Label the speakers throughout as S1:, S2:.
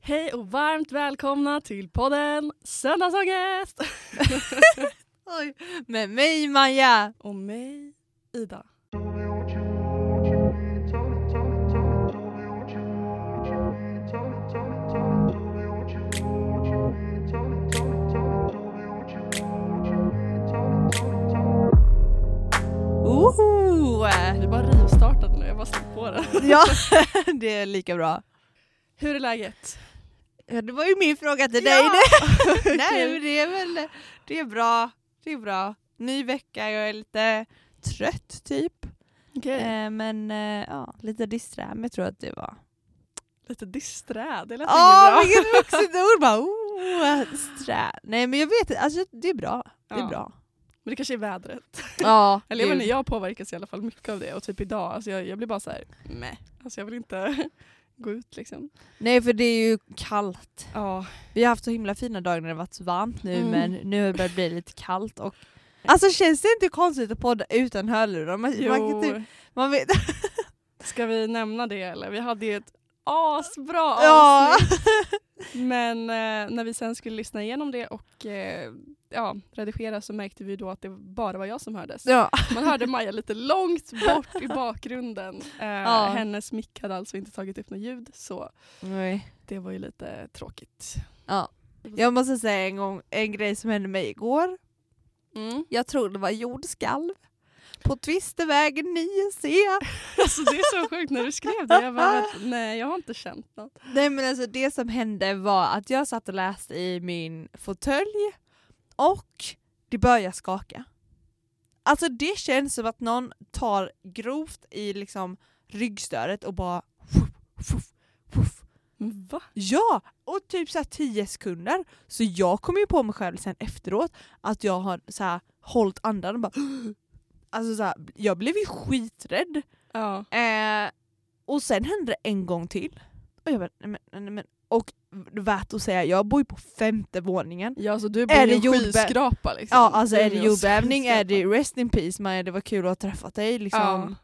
S1: Hej och varmt välkomna till podden Söndagsångest!
S2: Oj, med mig Maja!
S1: Och mig, Ida.
S2: Oho!
S1: Vi bara rivstartade nu, jag bara slog på den.
S2: Ja, det är lika bra.
S1: Hur är läget?
S2: Ja, det var ju min fråga till dig.
S1: Ja!
S2: Det, nej, men det är väl det är bra. Det är bra. Ny vecka, jag är lite trött typ.
S1: Okej,
S2: Eh, men eh, ja, lite disträ, men jag tror att det var.
S1: lite disträ, det lät
S2: Åh,
S1: inget bra.
S2: vilket vuxet ord! Bara, oh, strä. Nej, men jag vet inte. Alltså, det är bra. Det är
S1: Ja.
S2: bra.
S1: Men det kanske är vädret.
S2: Ja,
S1: Eller jag, vet inte, jag påverkas i alla fall mycket av det och typ idag, alltså jag, jag blir bara så här, meh. Alltså jag vill inte gå ut liksom.
S2: Nej, för det är ju kallt.
S1: Ja,
S2: Vi har haft så himla fina dagar när det varit så varmt nu
S1: Mm.
S2: men nu har det börjat bli lite kallt och Alltså känns det inte konstigt att podda utan hörlurar? Man, man, kan typ,
S1: jo.
S2: man vet,
S1: Ska vi nämna det eller? Vi hade ju ett asbra avsnitt.
S2: ja.
S1: Men eh, när vi sen skulle lyssna igenom det och eh, ja, redigera så märkte vi då att det bara var jag som hördes.
S2: ja.
S1: Man hörde Maja lite långt bort i bakgrunden. Eh, Hennes mick hade alltså inte tagit upp något ljud så
S2: Nej.
S1: det var ju lite tråkigt.
S2: Jag måste säga en, gång, en grej som hände mig igår.
S1: Mm.
S2: Jag tror det var jordskalv. På Twistervägen 9C.
S1: Alltså, det är så sjukt när du skrev det. Jag bara, nej jag har inte känt något.
S2: Nej men alltså det som hände var att jag satt och läste i min fåtölj och det började skaka. Alltså det känns som att någon tar grovt i liksom ryggstöret och bara fuff, fuff, fuff.
S1: Va?
S2: Ja! Och typ såhär 10 sekunder. Så jag kom ju på mig själv sen efteråt att jag har såhär hållit andan och bara Alltså såhär, jag blev ju skiträdd.
S1: Ja.
S2: Eh, och sen hände det en gång till. Och jag bara, nej men, nej men. Och värt att säga, jag bor ju på femte våningen.
S1: Ja så du bor
S2: Är
S1: i en
S2: det jordbä-
S1: skyskrapa liksom.
S2: Ja, alltså
S1: Du
S2: är det
S1: i en
S2: jordbävning, är det
S1: skyskrapa.
S2: rest in peace Maja, det var kul att ha träffat dig
S1: Ja.
S2: liksom.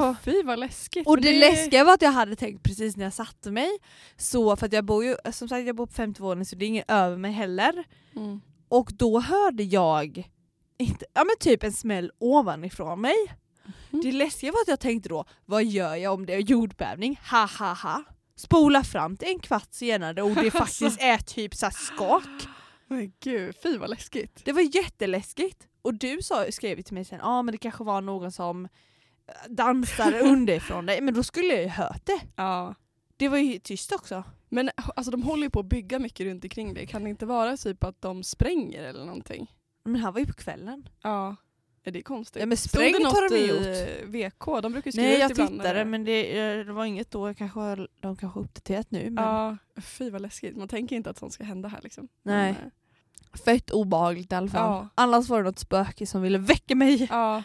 S1: Men fy vad läskigt.
S2: Och
S1: Men
S2: det läskiga var att jag hade tänkt precis när jag satte mig, så för att jag bor ju, som sagt jag bor på femte våningen så det är ingen över mig heller.
S1: Mm.
S2: Och då hörde jag inte, ja, men typ en smäll ovanifrån mig.
S1: Mhm.
S2: Det läskiga var att jag tänkte då, vad gör jag om det är jordbävning? Ha ha ha. Spola fram till en kvart senare och det faktiskt är typ så här skak.
S1: Men gud, fy vad läskigt.
S2: Det var jätteläskigt. Och du sa, skrev ju till mig sen, ja ah, men det kanske var någon som dansade underifrån dig. Men då skulle jag ju hört det.
S1: Ja.
S2: Det var ju tyst också.
S1: Men alltså, de håller ju på att bygga mycket runt omkring det. Kan det inte vara typ att de spränger eller någonting?
S2: Men det här var ju på kvällen.
S1: Ja. Är det konstigt?
S2: Ja men sprängt har de ju
S1: i
S2: gjort.
S1: eh, VK? De brukar ju skriva
S2: Nej
S1: ut
S2: jag
S1: ibland.
S2: tittade men det, eh, det var inget då, jag kanske, har- de kanske har uppdaterat nu. Men...
S1: Ja, fy vad läskigt. Man tänker inte att sånt ska hända här liksom.
S2: Nej.
S1: Men, eh,
S2: Fett obehagligt i alla fall.
S1: Ja.
S2: Annars var det något spöke som ville väcka mig.
S1: Ja.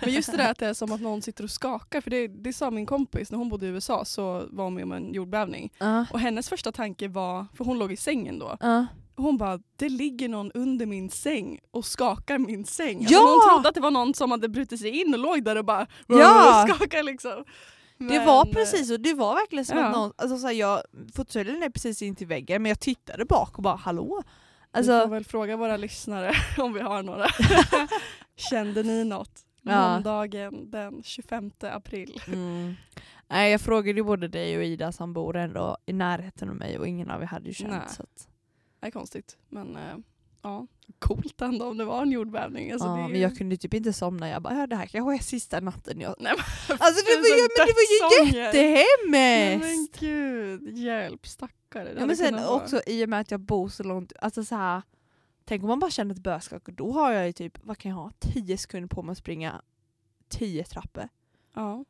S1: Men just det där att det är som att någon sitter och skakar. För det, det sa min kompis, när hon bodde i USA så var hon med om en jordbävning.
S2: Ja.
S1: Och hennes första tanke var, för hon låg i sängen då,
S2: Ja.
S1: Hon bara, det ligger någon under min säng och skakar min säng. Alltså
S2: Ja!
S1: Hon trodde att det var någon som hade brutit sig in och låg där och bara
S2: Ja!
S1: och skakade liksom.
S2: Det
S1: Men,
S2: var
S1: eh,
S2: precis och det var verkligen som
S1: ja.
S2: att någon, alltså, så här, jag, fåtöljen är precis in till väggen men jag tittade bak och bara
S1: Vi
S2: hallå?
S1: får
S2: Alltså,
S1: väl fråga våra lyssnare om vi har några. Kände ni något?
S2: Ja.
S1: Måndagen den 25 april.
S2: mm. Nej, jag frågade ju både dig och Ida som bor ändå i närheten av mig och ingen av er hade ju känt.
S1: Nej.
S2: Så att,
S1: Det är konstigt men eh, ja, coolt ändå om det var en jordbävning. Alltså,
S2: ja,
S1: det är ju-
S2: Men jag kunde ju typ inte somna, jag bara ja, det här kanske är sista natten jag...
S1: Nej,
S2: Alltså det var ju, men det var ju
S1: dödsångest. Nej,
S2: jättehemskt!
S1: Men gud, hjälp stackare. Det
S2: Ja,
S1: hade
S2: men sen
S1: kunnat vara-
S2: också i och med att jag bor så långt, alltså så här, tänk om man bara känner ett böskak och då har jag ju typ, vad kan jag ha, 10 sekunder på mig att springa 10 trappor.
S1: Ja.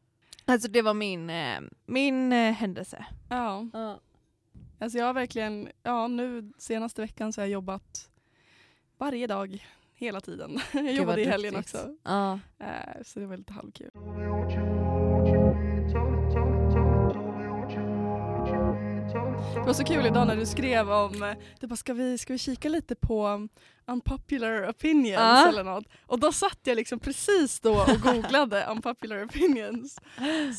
S2: Alltså det var min, eh, min eh, händelse.
S1: ja. Alltså jag har verkligen, ja nu senaste veckan så har jag jobbat varje dag, hela tiden. Jag
S2: Gud, vad
S1: jobbade i helgen
S2: duktigt.
S1: också.
S2: Ja.
S1: Eh, så det var lite halvkul. Det var så kul idag när du skrev om, eh, du bara ska vi, ska vi kika lite på um, unpopular opinions
S2: Ja.
S1: eller något? Och då satt jag liksom precis då och googlade unpopular opinions.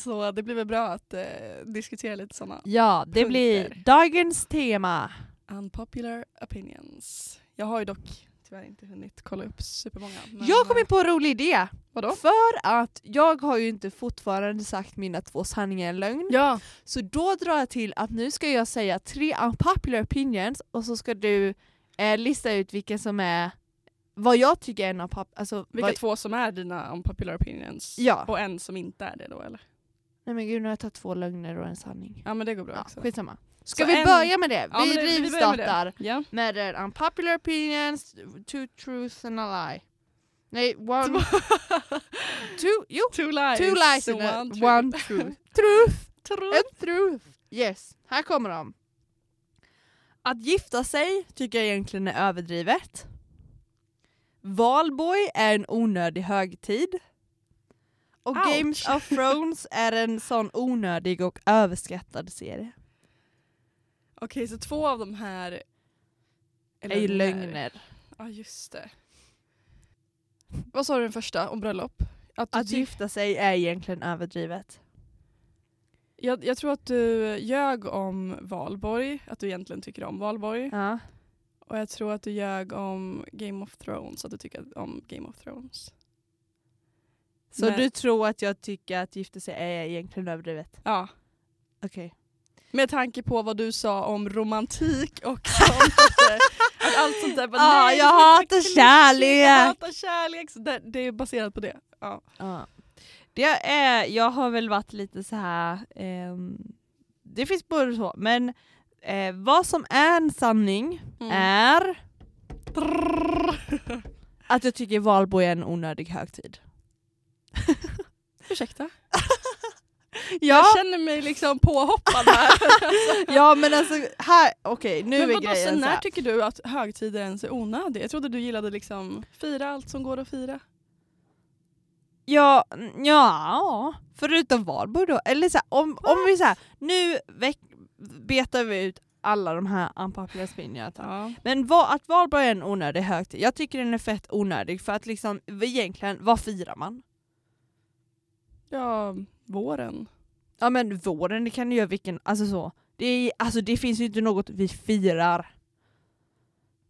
S1: Så det blir väl bra att eh, diskutera lite sådana
S2: Ja, det
S1: Punkter.
S2: blir dagens tema.
S1: unpopular opinions. Jag har ju dock tyvärr inte hunnit kolla upp supermånga. men,
S2: jag kom
S1: eh,
S2: in på en rolig idé.
S1: Vadå?
S2: För att jag har ju inte fortfarande sagt mina två sanningar och en lögn.
S1: Ja,
S2: Så då drar jag till att nu ska jag säga tre unpopular opinions och så ska du eh, lista ut vilken som är vad jag tycker är en unpopular... Alltså,
S1: vilka
S2: vad,
S1: två som är dina unpopular opinions
S2: Ja.
S1: och en som inte är det då eller?
S2: nej men gud, nu har jag tagit två lögner och en sanning.
S1: Ja men det går bra
S2: Ja,
S1: också.
S2: skitsamma. Ska
S1: Så
S2: vi
S1: en-
S2: börja med det?
S1: Ja,
S2: vi
S1: men det- vi börjar med det.
S2: rivstartar
S1: Ja.
S2: med, med eh, unpopular opinions, two truths and a lie. Nej, one... two, jo,
S1: Two lies,
S2: two lies and a-
S1: one, truth.
S2: one truth. truth!
S1: Truth.
S2: En truth! Yes, här kommer de. Att gifta sig tycker jag egentligen är överdrivet. Valborg är en onödig högtid. Och
S1: Ouch.
S2: Games of Thrones är en sån onödig och överskattad serie.
S1: Okej, så två av de här
S2: Är ju lögner.
S1: Ja, just det. Vad sa du den första om bröllop? Att du
S2: Att
S1: ty-
S2: gifta sig är egentligen överdrivet.
S1: jag, jag tror att du ljög om valborg, att du egentligen tycker om valborg.
S2: Ja.
S1: Och jag tror att du ljög om Game of Thrones, att du tycker om Game of Thrones.
S2: Så
S1: Men-
S2: du tror att jag tycker att gifta sig är egentligen överdrivet?
S1: Ja,
S2: Okej.
S1: med tanke på vad du sa om romantik och sånt. att, eh, att allt sånt där bara,
S2: Ah,
S1: nej,
S2: jag
S1: det är inte
S2: hatar
S1: kliché, Jag
S2: kärlek."
S1: hatar kärlek! Så det, det är baserat på det. Ja.
S2: Ja. Det är, jag har väl varit lite så här. ehm, det finns både och så, men eh, vad som är en sanning
S1: Mm.
S2: är att jag tycker valborg är en onödig högtid.
S1: Ursäkta?
S2: Ja,
S1: Jag känner mig liksom påhoppad här.
S2: ja men alltså här, okej nu
S1: Men
S2: är
S1: vadå,
S2: grejen
S1: sen
S2: så
S1: när
S2: här.
S1: tycker du att högtider ens är onödiga? Jag trodde du gillade liksom fira allt som går att fira.
S2: Ja, n- ja, förutom valborg då. Eller så här, om, om vi så här, nu veck- betar vi ut alla de här unpopular spinningarna.
S1: Ja.
S2: Men va, att valborg är en onödig högtid, jag tycker den är fett onödig för att liksom egentligen, vad firar man?
S1: ja, våren.
S2: Ja men våren, det kan du göra vilken, alltså så. Det, är, alltså, det finns ju inte något vi firar.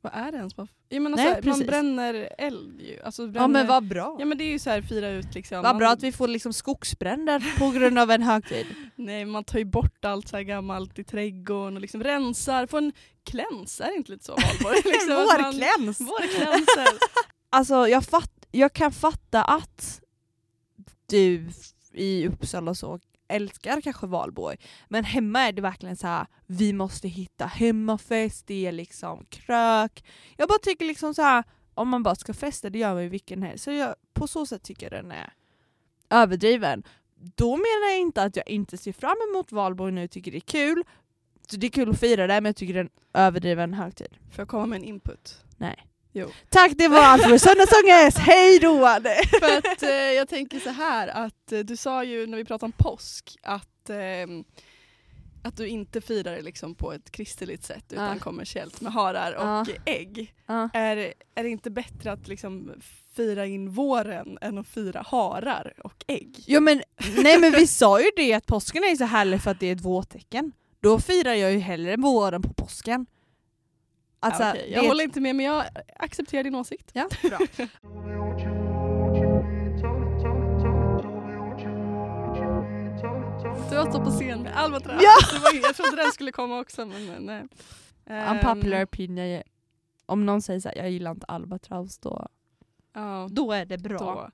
S1: Vad är det ens? Man- Ja, men
S2: Nej,
S1: alltså, man
S2: precis.
S1: bränner eld ju. Alltså, bränner...
S2: Ja men vad bra.
S1: Ja men det är ju så här fira ut liksom.
S2: Vad bra att vi får liksom skogsbränder på grund av en högtid.
S1: Nej man tar ju bort allt så här gammalt i trädgården och liksom rensar, får en kläns, är det inte lite så valborg? Liksom, att man-
S2: Vårkläns!
S1: Vårklänser!
S2: Alltså jag, fatt, jag kan fatta att du i Uppsala så älskar kanske valborg. Men hemma är det verkligen så här: vi måste hitta hemmafest, det är liksom krök. Jag bara tycker liksom så här om man bara ska festa det gör man ju vilken helg. Så jag, på så sätt tycker jag den är överdriven. Då menar jag inte att jag inte ser fram emot valborg nu och tycker det är kul. Så det är kul att fira det men jag tycker det är en överdriven högtid.
S1: Får jag komma med en input?
S2: Nej.
S1: Jo.
S2: Tack, det var allt för Söndagsångest! Hej då!
S1: För att eh, jag tänker så här att eh, du sa ju när vi pratade om påsk att, ehm, att du inte firar det liksom på ett kristeligt sätt utan
S2: Ja.
S1: kommersiellt med harar och
S2: Ja.
S1: ägg. Är, är det inte bättre att liksom fira in våren än att fira harar och ägg?
S2: Jo men, nej men vi sa ju det att påsken är så härlig för att det är ett vårtecken. Då firar jag ju hellre våren på påsken. Alltså,
S1: ja, okej. Jag
S2: det-
S1: håller inte med men jag accepterar din åsikt.
S2: Ja, bra.
S1: Du har stått på scen med Alcatraz.
S2: Ja.
S1: Det var, jag trodde den skulle komma också men eh, nej. Ehm,
S2: Unpopular opinion, om någon säger såhär jag gillar inte albatraus då,
S1: ja.
S2: då är det bra.
S1: då.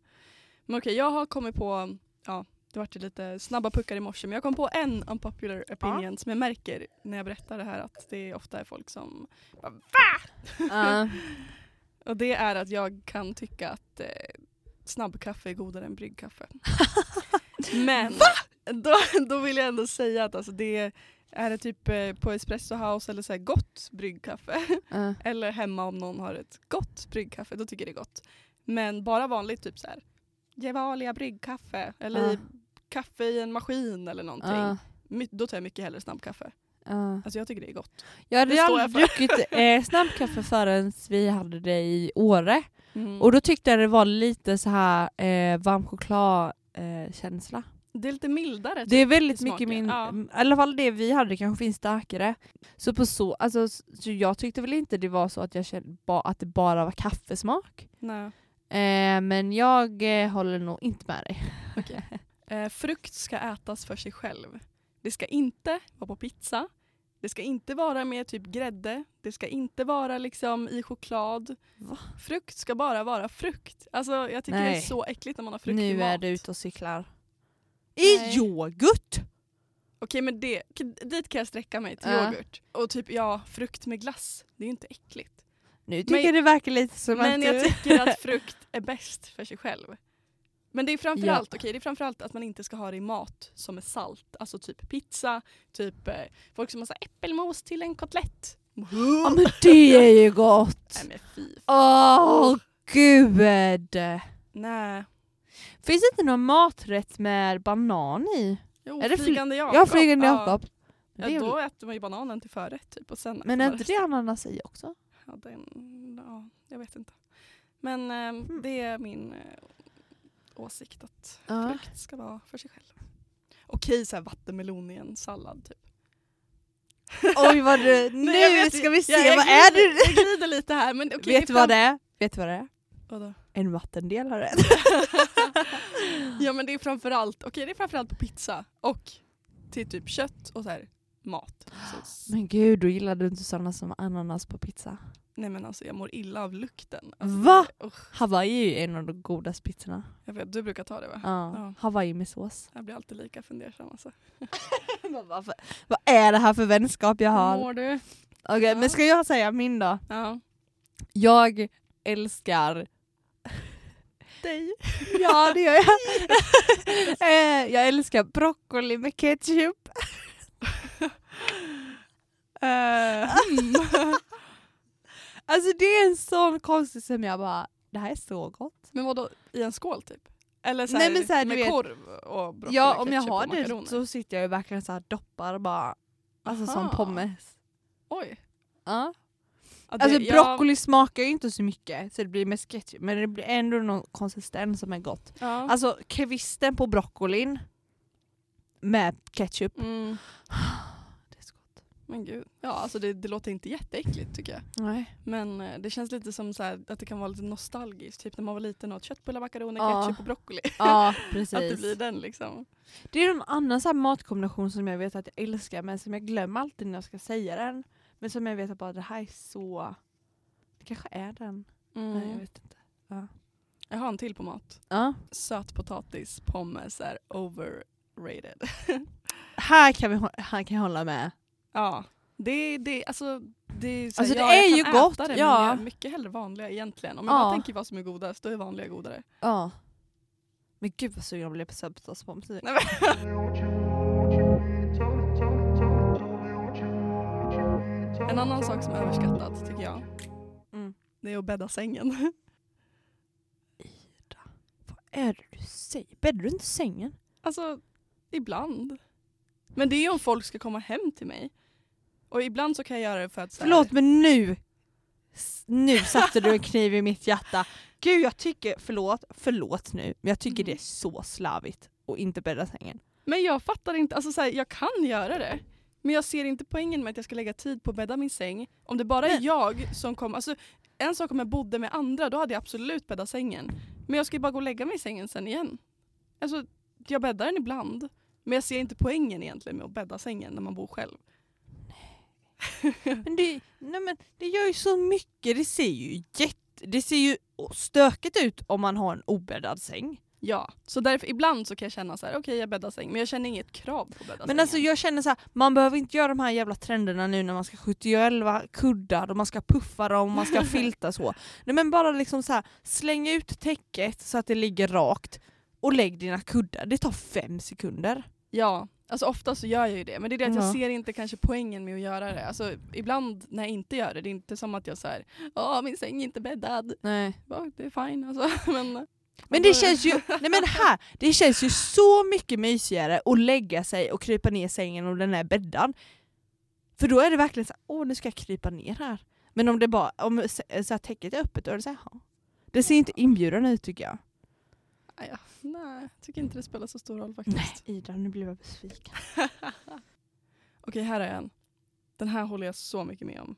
S1: Men okej, jag har kommit på, ja, det vart ju lite snabba puckar i morse, men jag kom på en unpopular opinion som jag märker när jag berättar det här att det ofta är folk som,
S2: Ja.
S1: och det är att jag kan tycka att eh, snabbkaffe är godare än bryggkaffe. men då, då vill jag ändå säga att alltså det är det typ eh, på Espresso House eller så här gott bryggkaffe
S2: Ja.
S1: eller hemma om någon har ett gott bryggkaffe, då tycker jag det är gott. Men bara vanligt, typ så här, Gevalia bryggkaffe eller
S2: Ja.
S1: kaffe i en maskin eller någonting.
S2: Ja.
S1: My- Då tar jag mycket hellre snabbkaffe.
S2: Ja.
S1: Alltså jag tycker det är gott.
S2: Jag hade
S1: Det
S2: ju
S1: står
S2: aldrig druckit eh, snabbkaffe förrän vi hade det i Åre. Och
S1: Och
S2: då tyckte jag det var lite så här eh, varm chokladkänsla. Eh, känsla.
S1: det är lite mildare.
S2: det är väldigt
S1: i smaken,
S2: mycket min, mm,
S1: ja.
S2: i alla fall det vi hade kanske finns starkare. Så på så, alltså, så jag tyckte väl inte det var så att jag kände ba, att det bara var kaffesmak.
S1: Nej.
S2: Eh, men jag eh, håller nog inte med dig.
S1: Eh, frukt ska ätas för sig själv. Det ska inte vara på pizza. Det ska inte vara med typ grädde. Det ska inte vara liksom i choklad.
S2: Va?
S1: Frukt ska bara vara frukt. Alltså jag tycker det
S2: Nej.
S1: är så äckligt när man har frukt i
S2: Nu
S1: mat.
S2: är du ute och cyklar. I
S1: Nej.
S2: yoghurt!
S1: Okej men det, k- dit kan jag sträcka mig till
S2: Ja.
S1: yoghurt. Och typ ja, frukt med glass. Det är ju inte äckligt.
S2: Nu tycker jag det verkar lite som
S1: Men
S2: att
S1: jag
S2: du...
S1: tycker att frukt är bäst för sig själv. Men det är framförallt,
S2: Ja.
S1: okej, det är framförallt att man inte ska ha det i mat som är salt. Alltså typ pizza, typ eh, folk som har så här äppelmos till en kotlett.
S2: Ja men det är ju gott!
S1: Nej men fy.
S2: Åh gud!
S1: Nej.
S2: Finns det inte någon maträtt med banan i?
S1: Jo,
S2: Är det fly-
S1: flygande Jakob.
S2: Ja, flygande
S1: Ja.
S2: Jakob. Det
S1: Ja,
S2: är
S1: då
S2: väl-
S1: äter man ju bananen till förrätt typ. Och sen
S2: Men är
S1: bara
S2: inte det
S1: resten.
S2: ananas i också?
S1: Ja, den, ja, jag vet inte. Men eh,
S2: Hmm.
S1: det är min eh, åsikt att
S2: Ja.
S1: frukt ska vara för sig själv. Okej, så här vattenmelon i en sallad typ.
S2: Oj vad du,
S1: Nej, jag
S2: nu
S1: vet-
S2: ska vi se,
S1: jag- jag
S2: vad är
S1: glider-
S2: det?
S1: Jag glider lite här men okej.
S2: Vet du vad det är? Vet du vad det är?
S1: Vadå?
S2: En vattendelare.
S1: Ja men det är framförallt, okej det är framförallt på pizza och till typ kött och så här mat. Så, s-
S2: Men gud, då gillar du inte sådana som ananas på pizza.
S1: nej men alltså jag mår illa av lukten. Alltså,
S2: Va?
S1: det- usch,
S2: Hawaii är ju en av de godaste pizzorna.
S1: jag vet, du brukar ta det va?
S2: Ja.
S1: Ja.
S2: Hawaii med sås.
S1: Jag blir alltid lika fundersam alltså.
S2: Vad är det här för vänskap jag
S1: Hur
S2: har?
S1: mår du?
S2: Okej,
S1: Ja.
S2: men ska jag säga min då?
S1: Ja.
S2: Jag älskar...
S1: Dig?
S2: Ja, det gör jag. Eh, jag älskar broccoli med ketchup. Eh. Alltså det är en sån konstig som jag bara, det här är så gott.
S1: men vadå, i en skål typ? Eller så
S2: Nej,
S1: här,
S2: men så här, du
S1: med
S2: vet-
S1: korv och broccoli,
S2: ja, om jag
S1: ketchup
S2: har
S1: och
S2: det
S1: makaroner?
S2: så sitter jag ju verkligen så här doppar och bara, alltså som
S1: Aha.
S2: pommes.
S1: Oj.
S2: Ja.
S1: Ja, det-
S2: Alltså
S1: jag-
S2: broccoli smakar ju inte så mycket så det blir med ketchup men det blir ändå någon konsistens som är gott.
S1: Ja.
S2: Alltså kvisten på broccolin med ketchup.
S1: Mm.
S2: Det är så gott.
S1: Men gud. Ja, alltså det, det låter inte jätteäckligt tycker jag.
S2: Nej.
S1: Men eh, det känns lite som så här, att det kan vara lite nostalgiskt. Typ när man var liten och åt köttbullar, makaroner,
S2: Ja.
S1: ketchup och broccoli.
S2: Ja
S1: Att det
S2: precis.
S1: blir den liksom.
S2: Det är en annan så här matkombination som jag vet att jag älskar men som jag glömmer alltid när jag ska säga den. Men som jag vet att bara det här är så... Det kanske är den. Nej jag vet inte.
S1: Jag har en till på mat. Sötpotatis, pommes är overrated.
S2: Här, kan vi, hå- här kan jag hålla med.
S1: ja, det, det, alltså, det, är så här,
S2: Alltså, det
S1: ja, jag
S2: är
S1: kan
S2: ju
S1: äta
S2: gott,
S1: Det, men
S2: ja.
S1: jag är mycket hellre vanliga egentligen. Om jag
S2: Ja.
S1: bara tänker vad som är godast, då är vanliga godare.
S2: Ja. Men gud vad sugen jag blev på sötpotatismomsen.
S1: Nej, En annan sak som är överskattad tycker jag,
S2: Mm.
S1: det är att bädda sängen.
S2: Vad är det du säger? Bäddar du inte sängen?
S1: Alltså, ibland. Men det är ju om folk ska komma hem till mig. Och ibland så kan jag göra det för att... Så här,
S2: Förlåt men nu! S- Nu satte du en kniv i mitt hjärta. Gud jag tycker, förlåt, förlåt nu, men jag tycker
S1: Mm.
S2: det är så slarvigt att inte bädda sängen.
S1: Men jag fattar inte, alltså så här, jag kan göra det. Men jag ser inte poängen med att jag ska lägga tid på att bädda min säng. Om det bara är
S2: Men-
S1: jag som kommer, alltså en sak om jag bodde med andra då hade jag absolut bäddat sängen. Men jag ska ju bara gå och lägga mig i sängen sen igen. Alltså jag bäddar den ibland. Men jag ser inte poängen egentligen med att bädda sängen när man bor själv.
S2: Men det, nej men det gör ju så mycket, det ser ju jätte, det ser ju stökigt ut om man har en obäddad säng.
S1: Ja, så därför ibland så kan jag känna så här: okej jag bäddar säng men jag känner inget krav på att bädda
S2: Men
S1: sängen.
S2: alltså jag känner så här, man behöver inte göra de här jävla trenderna nu när man ska 71 kuddar och man ska puffa dem, man ska filta så. Nej men bara liksom så här, släng ut täcket så att det ligger rakt och lägg dina kuddar, det tar fem sekunder.
S1: Ja, alltså ofta så gör jag ju det. Men det är det att
S2: Ja.
S1: jag ser inte kanske poängen med att göra det. Alltså ibland när jag inte gör det, det är inte som att jag såhär, ja min säng är inte bäddad.
S2: Nej.
S1: Ja, det är fine alltså. Men,
S2: Men det känns ju, nej men här, det känns ju så mycket mysigare att lägga sig och krypa ner i sängen om den är bäddad. För då är det verkligen så här, åh nu ska jag krypa ner här. Men om det bara, om så så här, täcket är öppet då är det så här, "Jaha." Det ser inte inbjudande ut tycker jag.
S1: Nej, ja, nej, jag tycker inte det spelar så stor roll faktiskt.
S2: Ida, nu blir jag besviken.
S1: Okej, här är en. Den här håller jag så mycket med om.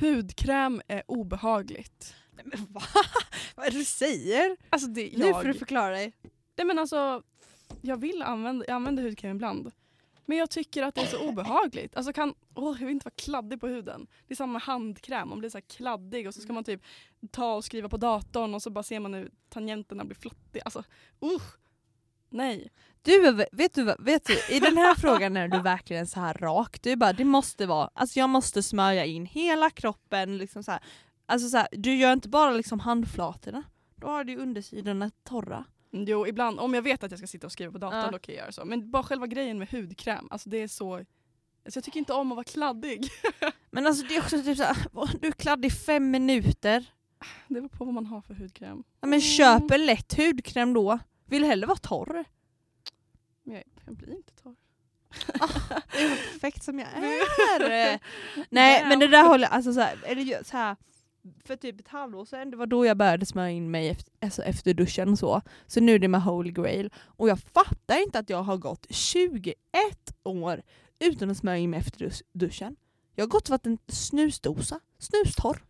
S1: Hudkräm är obehagligt.
S2: Nej, men va? Vad är det du säger?
S1: Alltså det är
S2: Nu
S1: jag.
S2: får du förklara dig.
S1: Nej men alltså, jag vill använda, jag använder hudkräm ibland. Men jag tycker att det är så obehagligt. Alltså kan, åh, jag vill inte vara kladdig på huden. Det är samma med handkräm, man blir så här kladdig och så ska man typ ta och skriva på datorn och så bara ser man hur tangenterna blir flottiga. Alltså usch! Nej.
S2: Du, är- vet du, vad- vet du, i den här frågan är du verkligen så här rak. Du är bara, det måste vara, alltså jag måste smörja in hela kroppen. Liksom så här. Alltså så här, du gör inte bara liksom handflatorna. Då har du ju undersidorna torra.
S1: Mm, Jo ibland, om jag vet att jag ska sitta och skriva på datorn
S2: Ja.
S1: då kan jag göra så. Men bara själva grejen med hudkräm, alltså det är så... Alltså jag tycker inte om att vara kladdig.
S2: Men alltså det är också typ såhär, du är kladdig i fem minuter.
S1: Det beror på vad man har för hudkräm.
S2: Ja, men köp en lätt hudkräm då. Vill hellre vara torr.
S1: Men jag, jag blir inte torr.
S2: Det är så perfekt som jag är. Nej men det där håller jag, alltså såhär, eller ju såhär, för typ ett halvår sedan, det var då jag började smörja in mig efter, alltså efter duschen och så. Så nu är det med holy grail. Och jag fattar inte att jag har gått 21 år utan att smörja in mig efter dus- duschen. Jag har gått och varit en snusdosa, snustorr.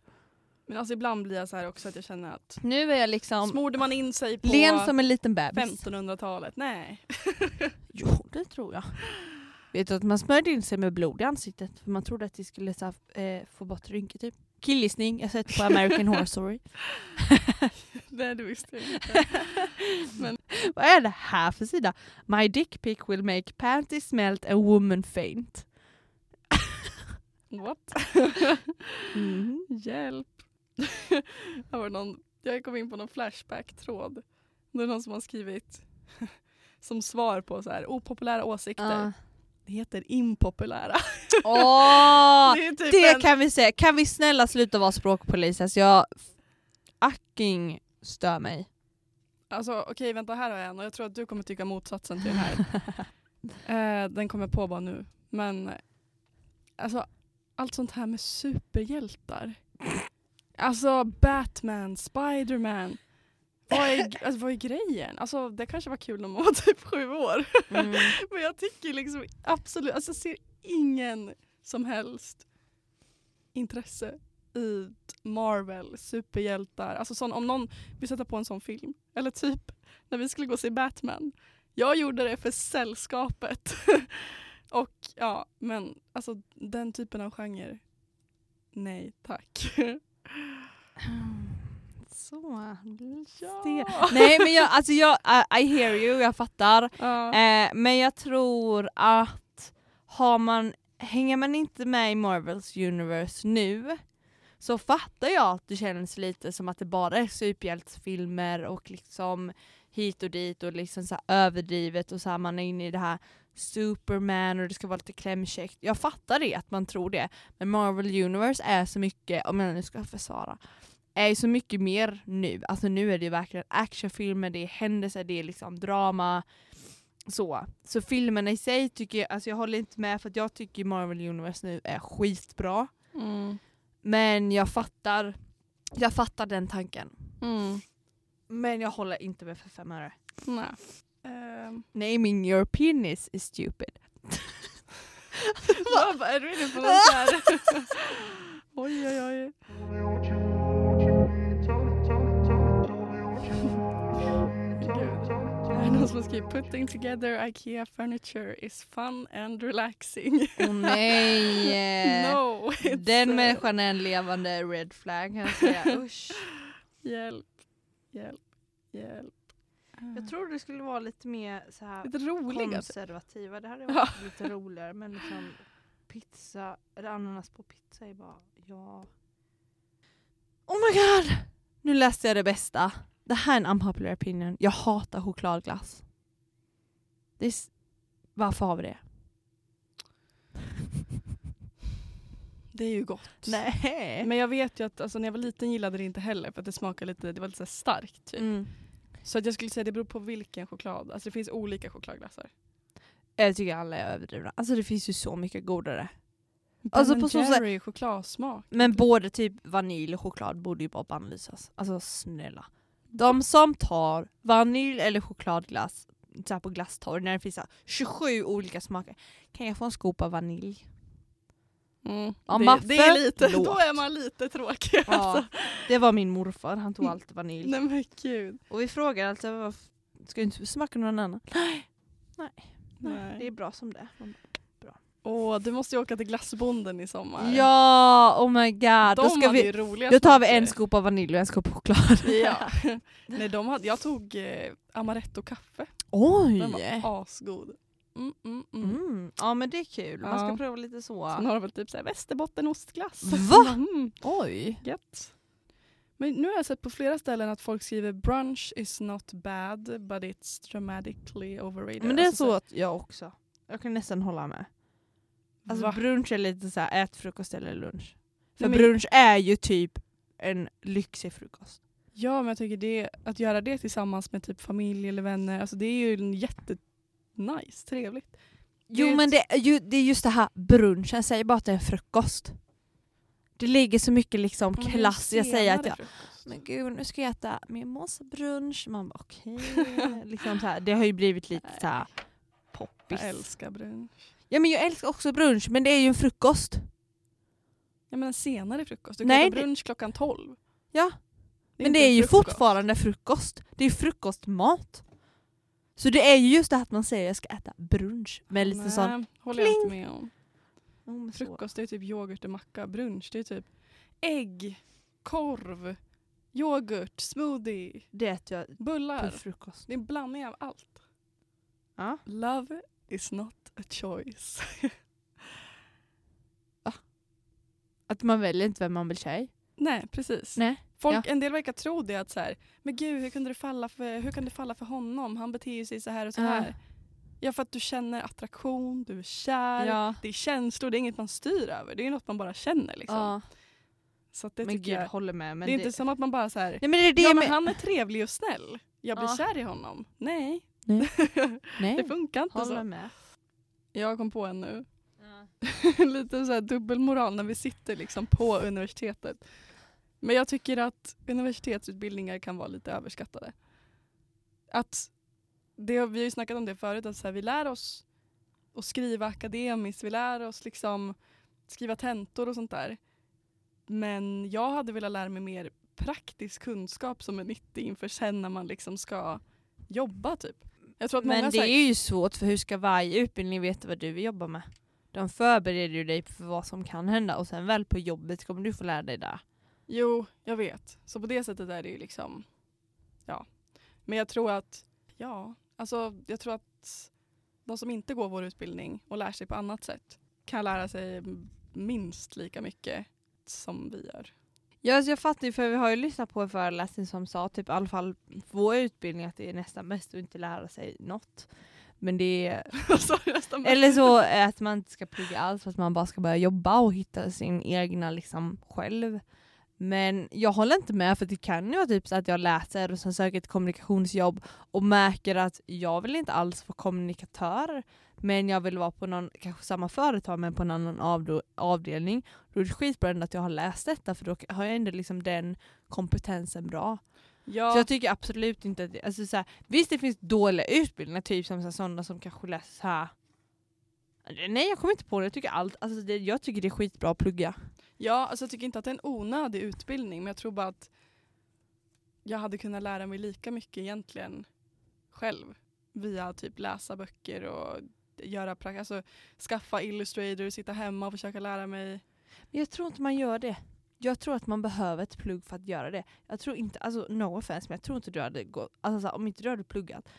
S1: Men alltså ibland blir jag så här också att jag känner att
S2: Nu är jag liksom
S1: smorde man in sig på
S2: len som en liten bebis.
S1: 1500-talet? Nej.
S2: Jo, det tror jag. Vet du att man smörjde in sig med blod i ansiktet för man trodde att det skulle så här, eh, få bort rynkor typ. Killgissning, jag har sett på American Horror Story.
S1: Nej det visste jag inte.
S2: Vad är det här för sida? My dick pic will make panties smelt and woman faint.
S1: What? Mm. Hjälp. jag, var någon, jag kom in på någon Flashback-tråd. Det är någon som har skrivit som svar på så här, opopulära åsikter.
S2: Ah.
S1: Det heter impopulära.
S2: Åh,
S1: det är typ
S2: det
S1: en,
S2: kan vi säga. Kan vi snälla sluta vara språkpolis? Alltså jag fucking stör mig.
S1: alltså, okej vänta här har jag en och jag tror att du kommer tycka motsatsen till den här. Eh, den kommer jag på bara nu. Men eh, alltså, allt sånt här med superhjältar. Alltså Batman, Spiderman. Vad är, alltså, vad är grejen? Alltså, det kanske var kul om man var typ sju år. Men jag tycker liksom absolut, alltså, jag ser ingen som helst intresse i Marvel, superhjältar. Alltså sån, om någon vill sätta på en sån film. Eller typ när vi skulle gå och se Batman. Jag gjorde det för sällskapet. och ja, men alltså den typen av genre. Nej tack.
S2: Så,
S1: ja.
S2: Nej men jag, alltså jag, I, I hear you, jag fattar.
S1: Ja.
S2: Eh, men jag tror att har man, hänger man inte med i Marvels universe nu så fattar jag att det känns lite som att det bara är superhjältesfilmer och liksom hit och dit och liksom så här överdrivet och så här man är inne i det här Superman och det ska vara lite klämkäckt. Jag fattar det, att man tror det. Men Marvel Universe är så mycket, om jag nu ska försvara, är ju så mycket mer nu. Alltså nu är det ju verkligen actionfilmer, det är händelser, det är liksom drama. Så. så filmerna i sig tycker jag, alltså jag håller inte med för att jag tycker Marvel Universe nu är skitbra.
S1: Mm.
S2: Men jag fattar, jag fattar den tanken.
S1: Mm.
S2: Men jag håller inte med för fem öre.
S1: Nej. Ehm,
S2: Naming your penis is stupid.
S1: jag bara, är du inne på något här? oj oj oj. Här är någon som har skrivit Putting together IKEA furniture is fun and relaxing.
S2: Åh nej!
S1: no. it's,
S2: Den
S1: eh,
S2: människan är en levande red flag kan jag säga. Usch.
S1: Hjälp, hjälp, hjälp. Ah.
S2: Jag trodde det skulle vara lite mer så här
S1: Lite roliga.
S2: konservativa. Det hade
S1: Ja.
S2: varit lite roligare men liksom pizza, eller ananas på pizza är bara ja. Oh my god! Nu läste jag det bästa. Det här är en unpopular opinion. Jag hatar chokladglass. Det är s- Varför har vi det?
S1: Det är ju gott.
S2: Nej.
S1: Men jag vet ju att alltså, när jag var liten gillade det inte heller för att det smakade lite, det var lite så här starkt. Typ.
S2: Mm.
S1: Så att jag skulle säga det beror på vilken choklad. Alltså det finns olika chokladglassar.
S2: Jag tycker alla är överdrivna. Alltså det finns ju så mycket godare.
S1: Ben
S2: Alltså, på så sätt-
S1: Jerry chokladsmak.
S2: Men både typ vanilj och choklad borde ju bara bannlysas. Alltså snälla. De som tar vanilj eller chokladglass så här på glasstorg när det finns så här 27 olika smaker. Kan jag få en skopa vanilj?
S1: Mm.
S2: Ja,
S1: det,
S2: men
S1: det är lite,
S2: förlåt.
S1: då är man lite tråkig. Alltså.
S2: det var min morfar, han tog alltid vanilj.
S1: Nej men gud.
S2: Och vi frågar alltid varför ska du inte smaka någon annan? Nej. Det
S1: Nej.
S2: är bra som det är. Man bara,
S1: Åh, du måste ju åka till glassbonden i sommar.
S2: Ja, oh my god.
S1: de
S2: Då, ska
S1: hade
S2: vi,
S1: ju roliga
S2: då tar vi
S1: smaker.
S2: en skopa vanilj och en skopa choklad.
S1: Ja. Nej, de hade, jag tog eh, amaretto-kaffe. Den
S2: Oj!
S1: var asgod. Mm, mm, mm.
S2: Mm. Ja men det är kul, man ska
S1: Ja.
S2: prova lite så.
S1: Sen har de väl typ såhär västerbottenostglass.
S2: Va?
S1: Mm,
S2: Oj!
S1: gött. Men nu har jag sett på flera ställen att folk skriver brunch is not bad but it's dramatically overrated.
S2: Men det är
S1: Alltså
S2: så att jag också. Jag kan nästan hålla med. Alltså
S1: Va?
S2: brunch är lite så här, ät frukost eller lunch. För
S1: Nej, men-
S2: brunch är ju typ en lyxig frukost.
S1: Ja men jag tycker det, att göra det tillsammans med typ familj eller vänner, alltså det är ju en jätte nice, trevligt.
S2: Jo
S1: Det är
S2: men
S1: ett-
S2: det, är ju, det är just det här brunchen, säg bara att det är en frukost. Det ligger så mycket liksom
S1: Men det är ju
S2: klass, jag säger att
S1: Mm. senare
S2: jag
S1: frukost.
S2: men gud nu ska jag äta mimosa-brunch. Man bara okej. liksom så här, det har ju blivit lite så här poppis.
S1: jag älskar brunch.
S2: Ja men jag älskar också brunch men det är ju en frukost.
S1: Jag menar senare frukost, du kan
S2: Nej,
S1: äta
S2: det-
S1: brunch klockan 12. Det
S2: Ja. men
S1: inte
S2: det är ju
S1: frukost.
S2: fortfarande frukost. Det är ju frukostmat. Så det är ju just det här att man säger jag ska äta brunch med lite
S1: Nej,
S2: sån...
S1: håller jag inte
S2: kling.
S1: med om.
S2: Ja, men så.
S1: Frukost det är typ yoghurt och macka. Brunch det är typ ägg, korv, yoghurt, smoothie,
S2: Det äter jag på
S1: bullar.
S2: frukost.
S1: Det är en blandning av allt.
S2: Ja.
S1: Love is not a choice.
S2: Att man väljer inte vem man vill tjej.
S1: Nej precis.
S2: Nej.
S1: Folk, En del verkar tro det att så här, men gud hur, kunde det falla för, hur kan det falla för honom? Han beter sig så här och så
S2: Ja.
S1: här. Ja för att du känner attraktion, du är kär.
S2: Ja.
S1: Det är känslor, det är inget man styr över. Det är något man bara känner liksom.
S2: ja.
S1: Så att det
S2: men
S1: tycker
S2: gud,
S1: jag.
S2: håller med. Men
S1: det är inte som att man bara så här,
S2: Nej men det är det
S1: ja,
S2: med...
S1: men han är trevlig och snäll. Jag blir
S2: Ja.
S1: kär i honom. Nej, det
S2: Nej,
S1: funkar inte
S2: håller
S1: så.
S2: med.
S1: Jag kom på en nu. Lite så här dubbelmoral när vi sitter liksom på universitetet. Men jag tycker att universitetsutbildningar kan vara lite överskattade. Att det, vi har ju snackat om det förut, att så här, vi lär oss att skriva akademiskt, vi lär oss liksom skriva tentor och sånt där. Men jag hade velat lära mig mer praktisk kunskap som är nyttig inför sen när man liksom ska jobba typ. Jag tror att många
S2: Men det
S1: så här-
S2: är ju svårt för hur ska varje utbildning veta vad du vill jobba med? De förbereder ju dig för vad som kan hända och sen väl på jobbet kommer du få lära dig det.
S1: Jo, jag vet. Så på det sättet är det ju liksom, ja. Men jag tror att, ja, alltså jag tror att de som inte går vår utbildning och lär sig på annat sätt kan lära sig minst lika mycket som vi gör.
S2: Ja, alltså jag fattar ju för vi har ju lyssnat på en föreläsning som sa typ i alla fall vår utbildning att det är nästan bäst att inte lära sig något. Men det är,
S1: så är det nästan bara-
S2: eller så är att man inte ska plugga alls för att man bara ska börja jobba och hitta sin egna liksom själv. Men jag håller inte med för det kan ju vara typ så att jag läser och sen söker ett kommunikationsjobb och märker att jag vill inte alls vara kommunikatör men jag vill vara på någon, kanske samma företag men på en annan avdo- avdelning. Då är det skitbra ändå att jag har läst detta för då har jag ändå liksom den kompetensen bra. Så
S1: ja,
S2: jag tycker absolut inte att det, alltså så här, visst det finns dåliga utbildningar, typ som så här, sådana som kanske läser så här. Nej jag kommer inte på det, jag tycker allt, alltså det, jag tycker det är skitbra att plugga.
S1: ja, alltså jag tycker inte att det är en onödig utbildning men jag tror bara att jag hade kunnat lära mig lika mycket egentligen själv via typ läsa böcker och göra prak- alltså skaffa Illustrator, sitta hemma och försöka lära mig
S2: Men jag tror inte man gör det. Jag tror att man behöver ett plugg för att göra det. Jag tror inte, alltså no offense, men jag tror inte du hade gått, alltså så här, om inte du hade pluggat,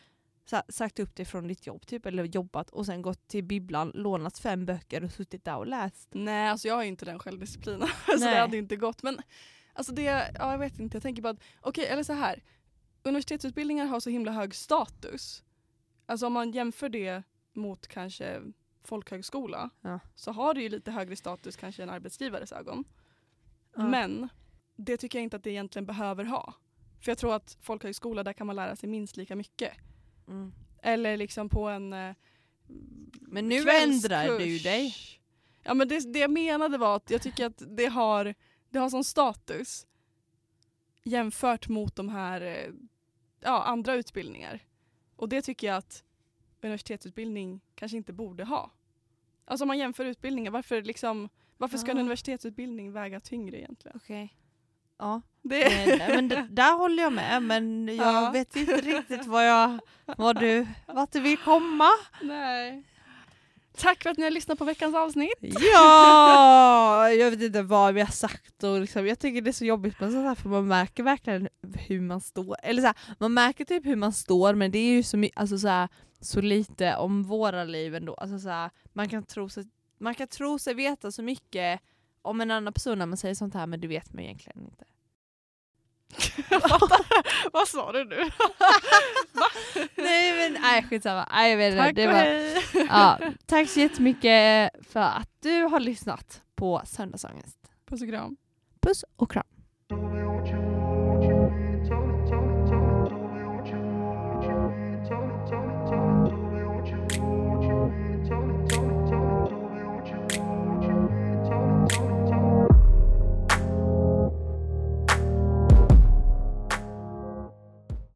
S2: så här, sagt upp dig från ditt jobb typ, eller jobbat och sen gått till bibblan, lånat fem böcker och suttit där och läst.
S1: Nej, alltså jag har ju inte den självdisciplinen. så
S2: Nej.
S1: det hade ju inte gått. Men alltså det, ja, jag vet inte, jag tänker bara att, okej eller så här. Universitetsutbildningar har så himla hög status. Alltså om man jämför det mot kanske folkhögskola
S2: Ja.
S1: så har det ju lite högre status kanske i en arbetsgivares ögon.
S2: Ja.
S1: Men det tycker jag inte att det egentligen behöver ha. För jag tror att folkhögskola, där kan man lära sig minst lika mycket.
S2: Mm.
S1: Eller liksom på en eh,
S2: Men nu
S1: kvällskurs.
S2: ändrar du dig.
S1: Ja men det, det jag menade var att jag tycker att det har, det har sån status jämfört mot de här eh, ja, andra utbildningar. Och det tycker jag att universitetsutbildning kanske inte borde ha. Alltså om man jämför utbildningar, varför, liksom, varför ska en
S2: Ja.
S1: universitetsutbildning väga tyngre egentligen?
S2: Okej. Ja,
S1: Det,
S2: eh, nej, men d- där håller jag med men jag
S1: Ja.
S2: vet inte riktigt vad jag, vad du, vart du vill komma.
S1: nej. Tack för att ni har lyssnat på veckans avsnitt.
S2: Ja! Jag vet inte vad vi har sagt och liksom, jag tycker det är så jobbigt med sånt här för man märker verkligen hur man står. Eller så här, man märker typ hur man står men det är ju så, my- alltså så, här, så lite om våra liv ändå. Alltså så här, man, kan tro sig, man kan tro sig veta så mycket om en annan person när man säger sånt här men det vet man egentligen inte.
S1: Vad sa du nu?
S2: nej men nej skitsamma. Nej, jag vet inte.
S1: Tack
S2: det
S1: och
S2: var,
S1: hej!
S2: ja, Tack så jättemycket för att du har lyssnat på Söndagsångest.
S1: Puss och kram.
S2: Puss och kram.
S3: Don't you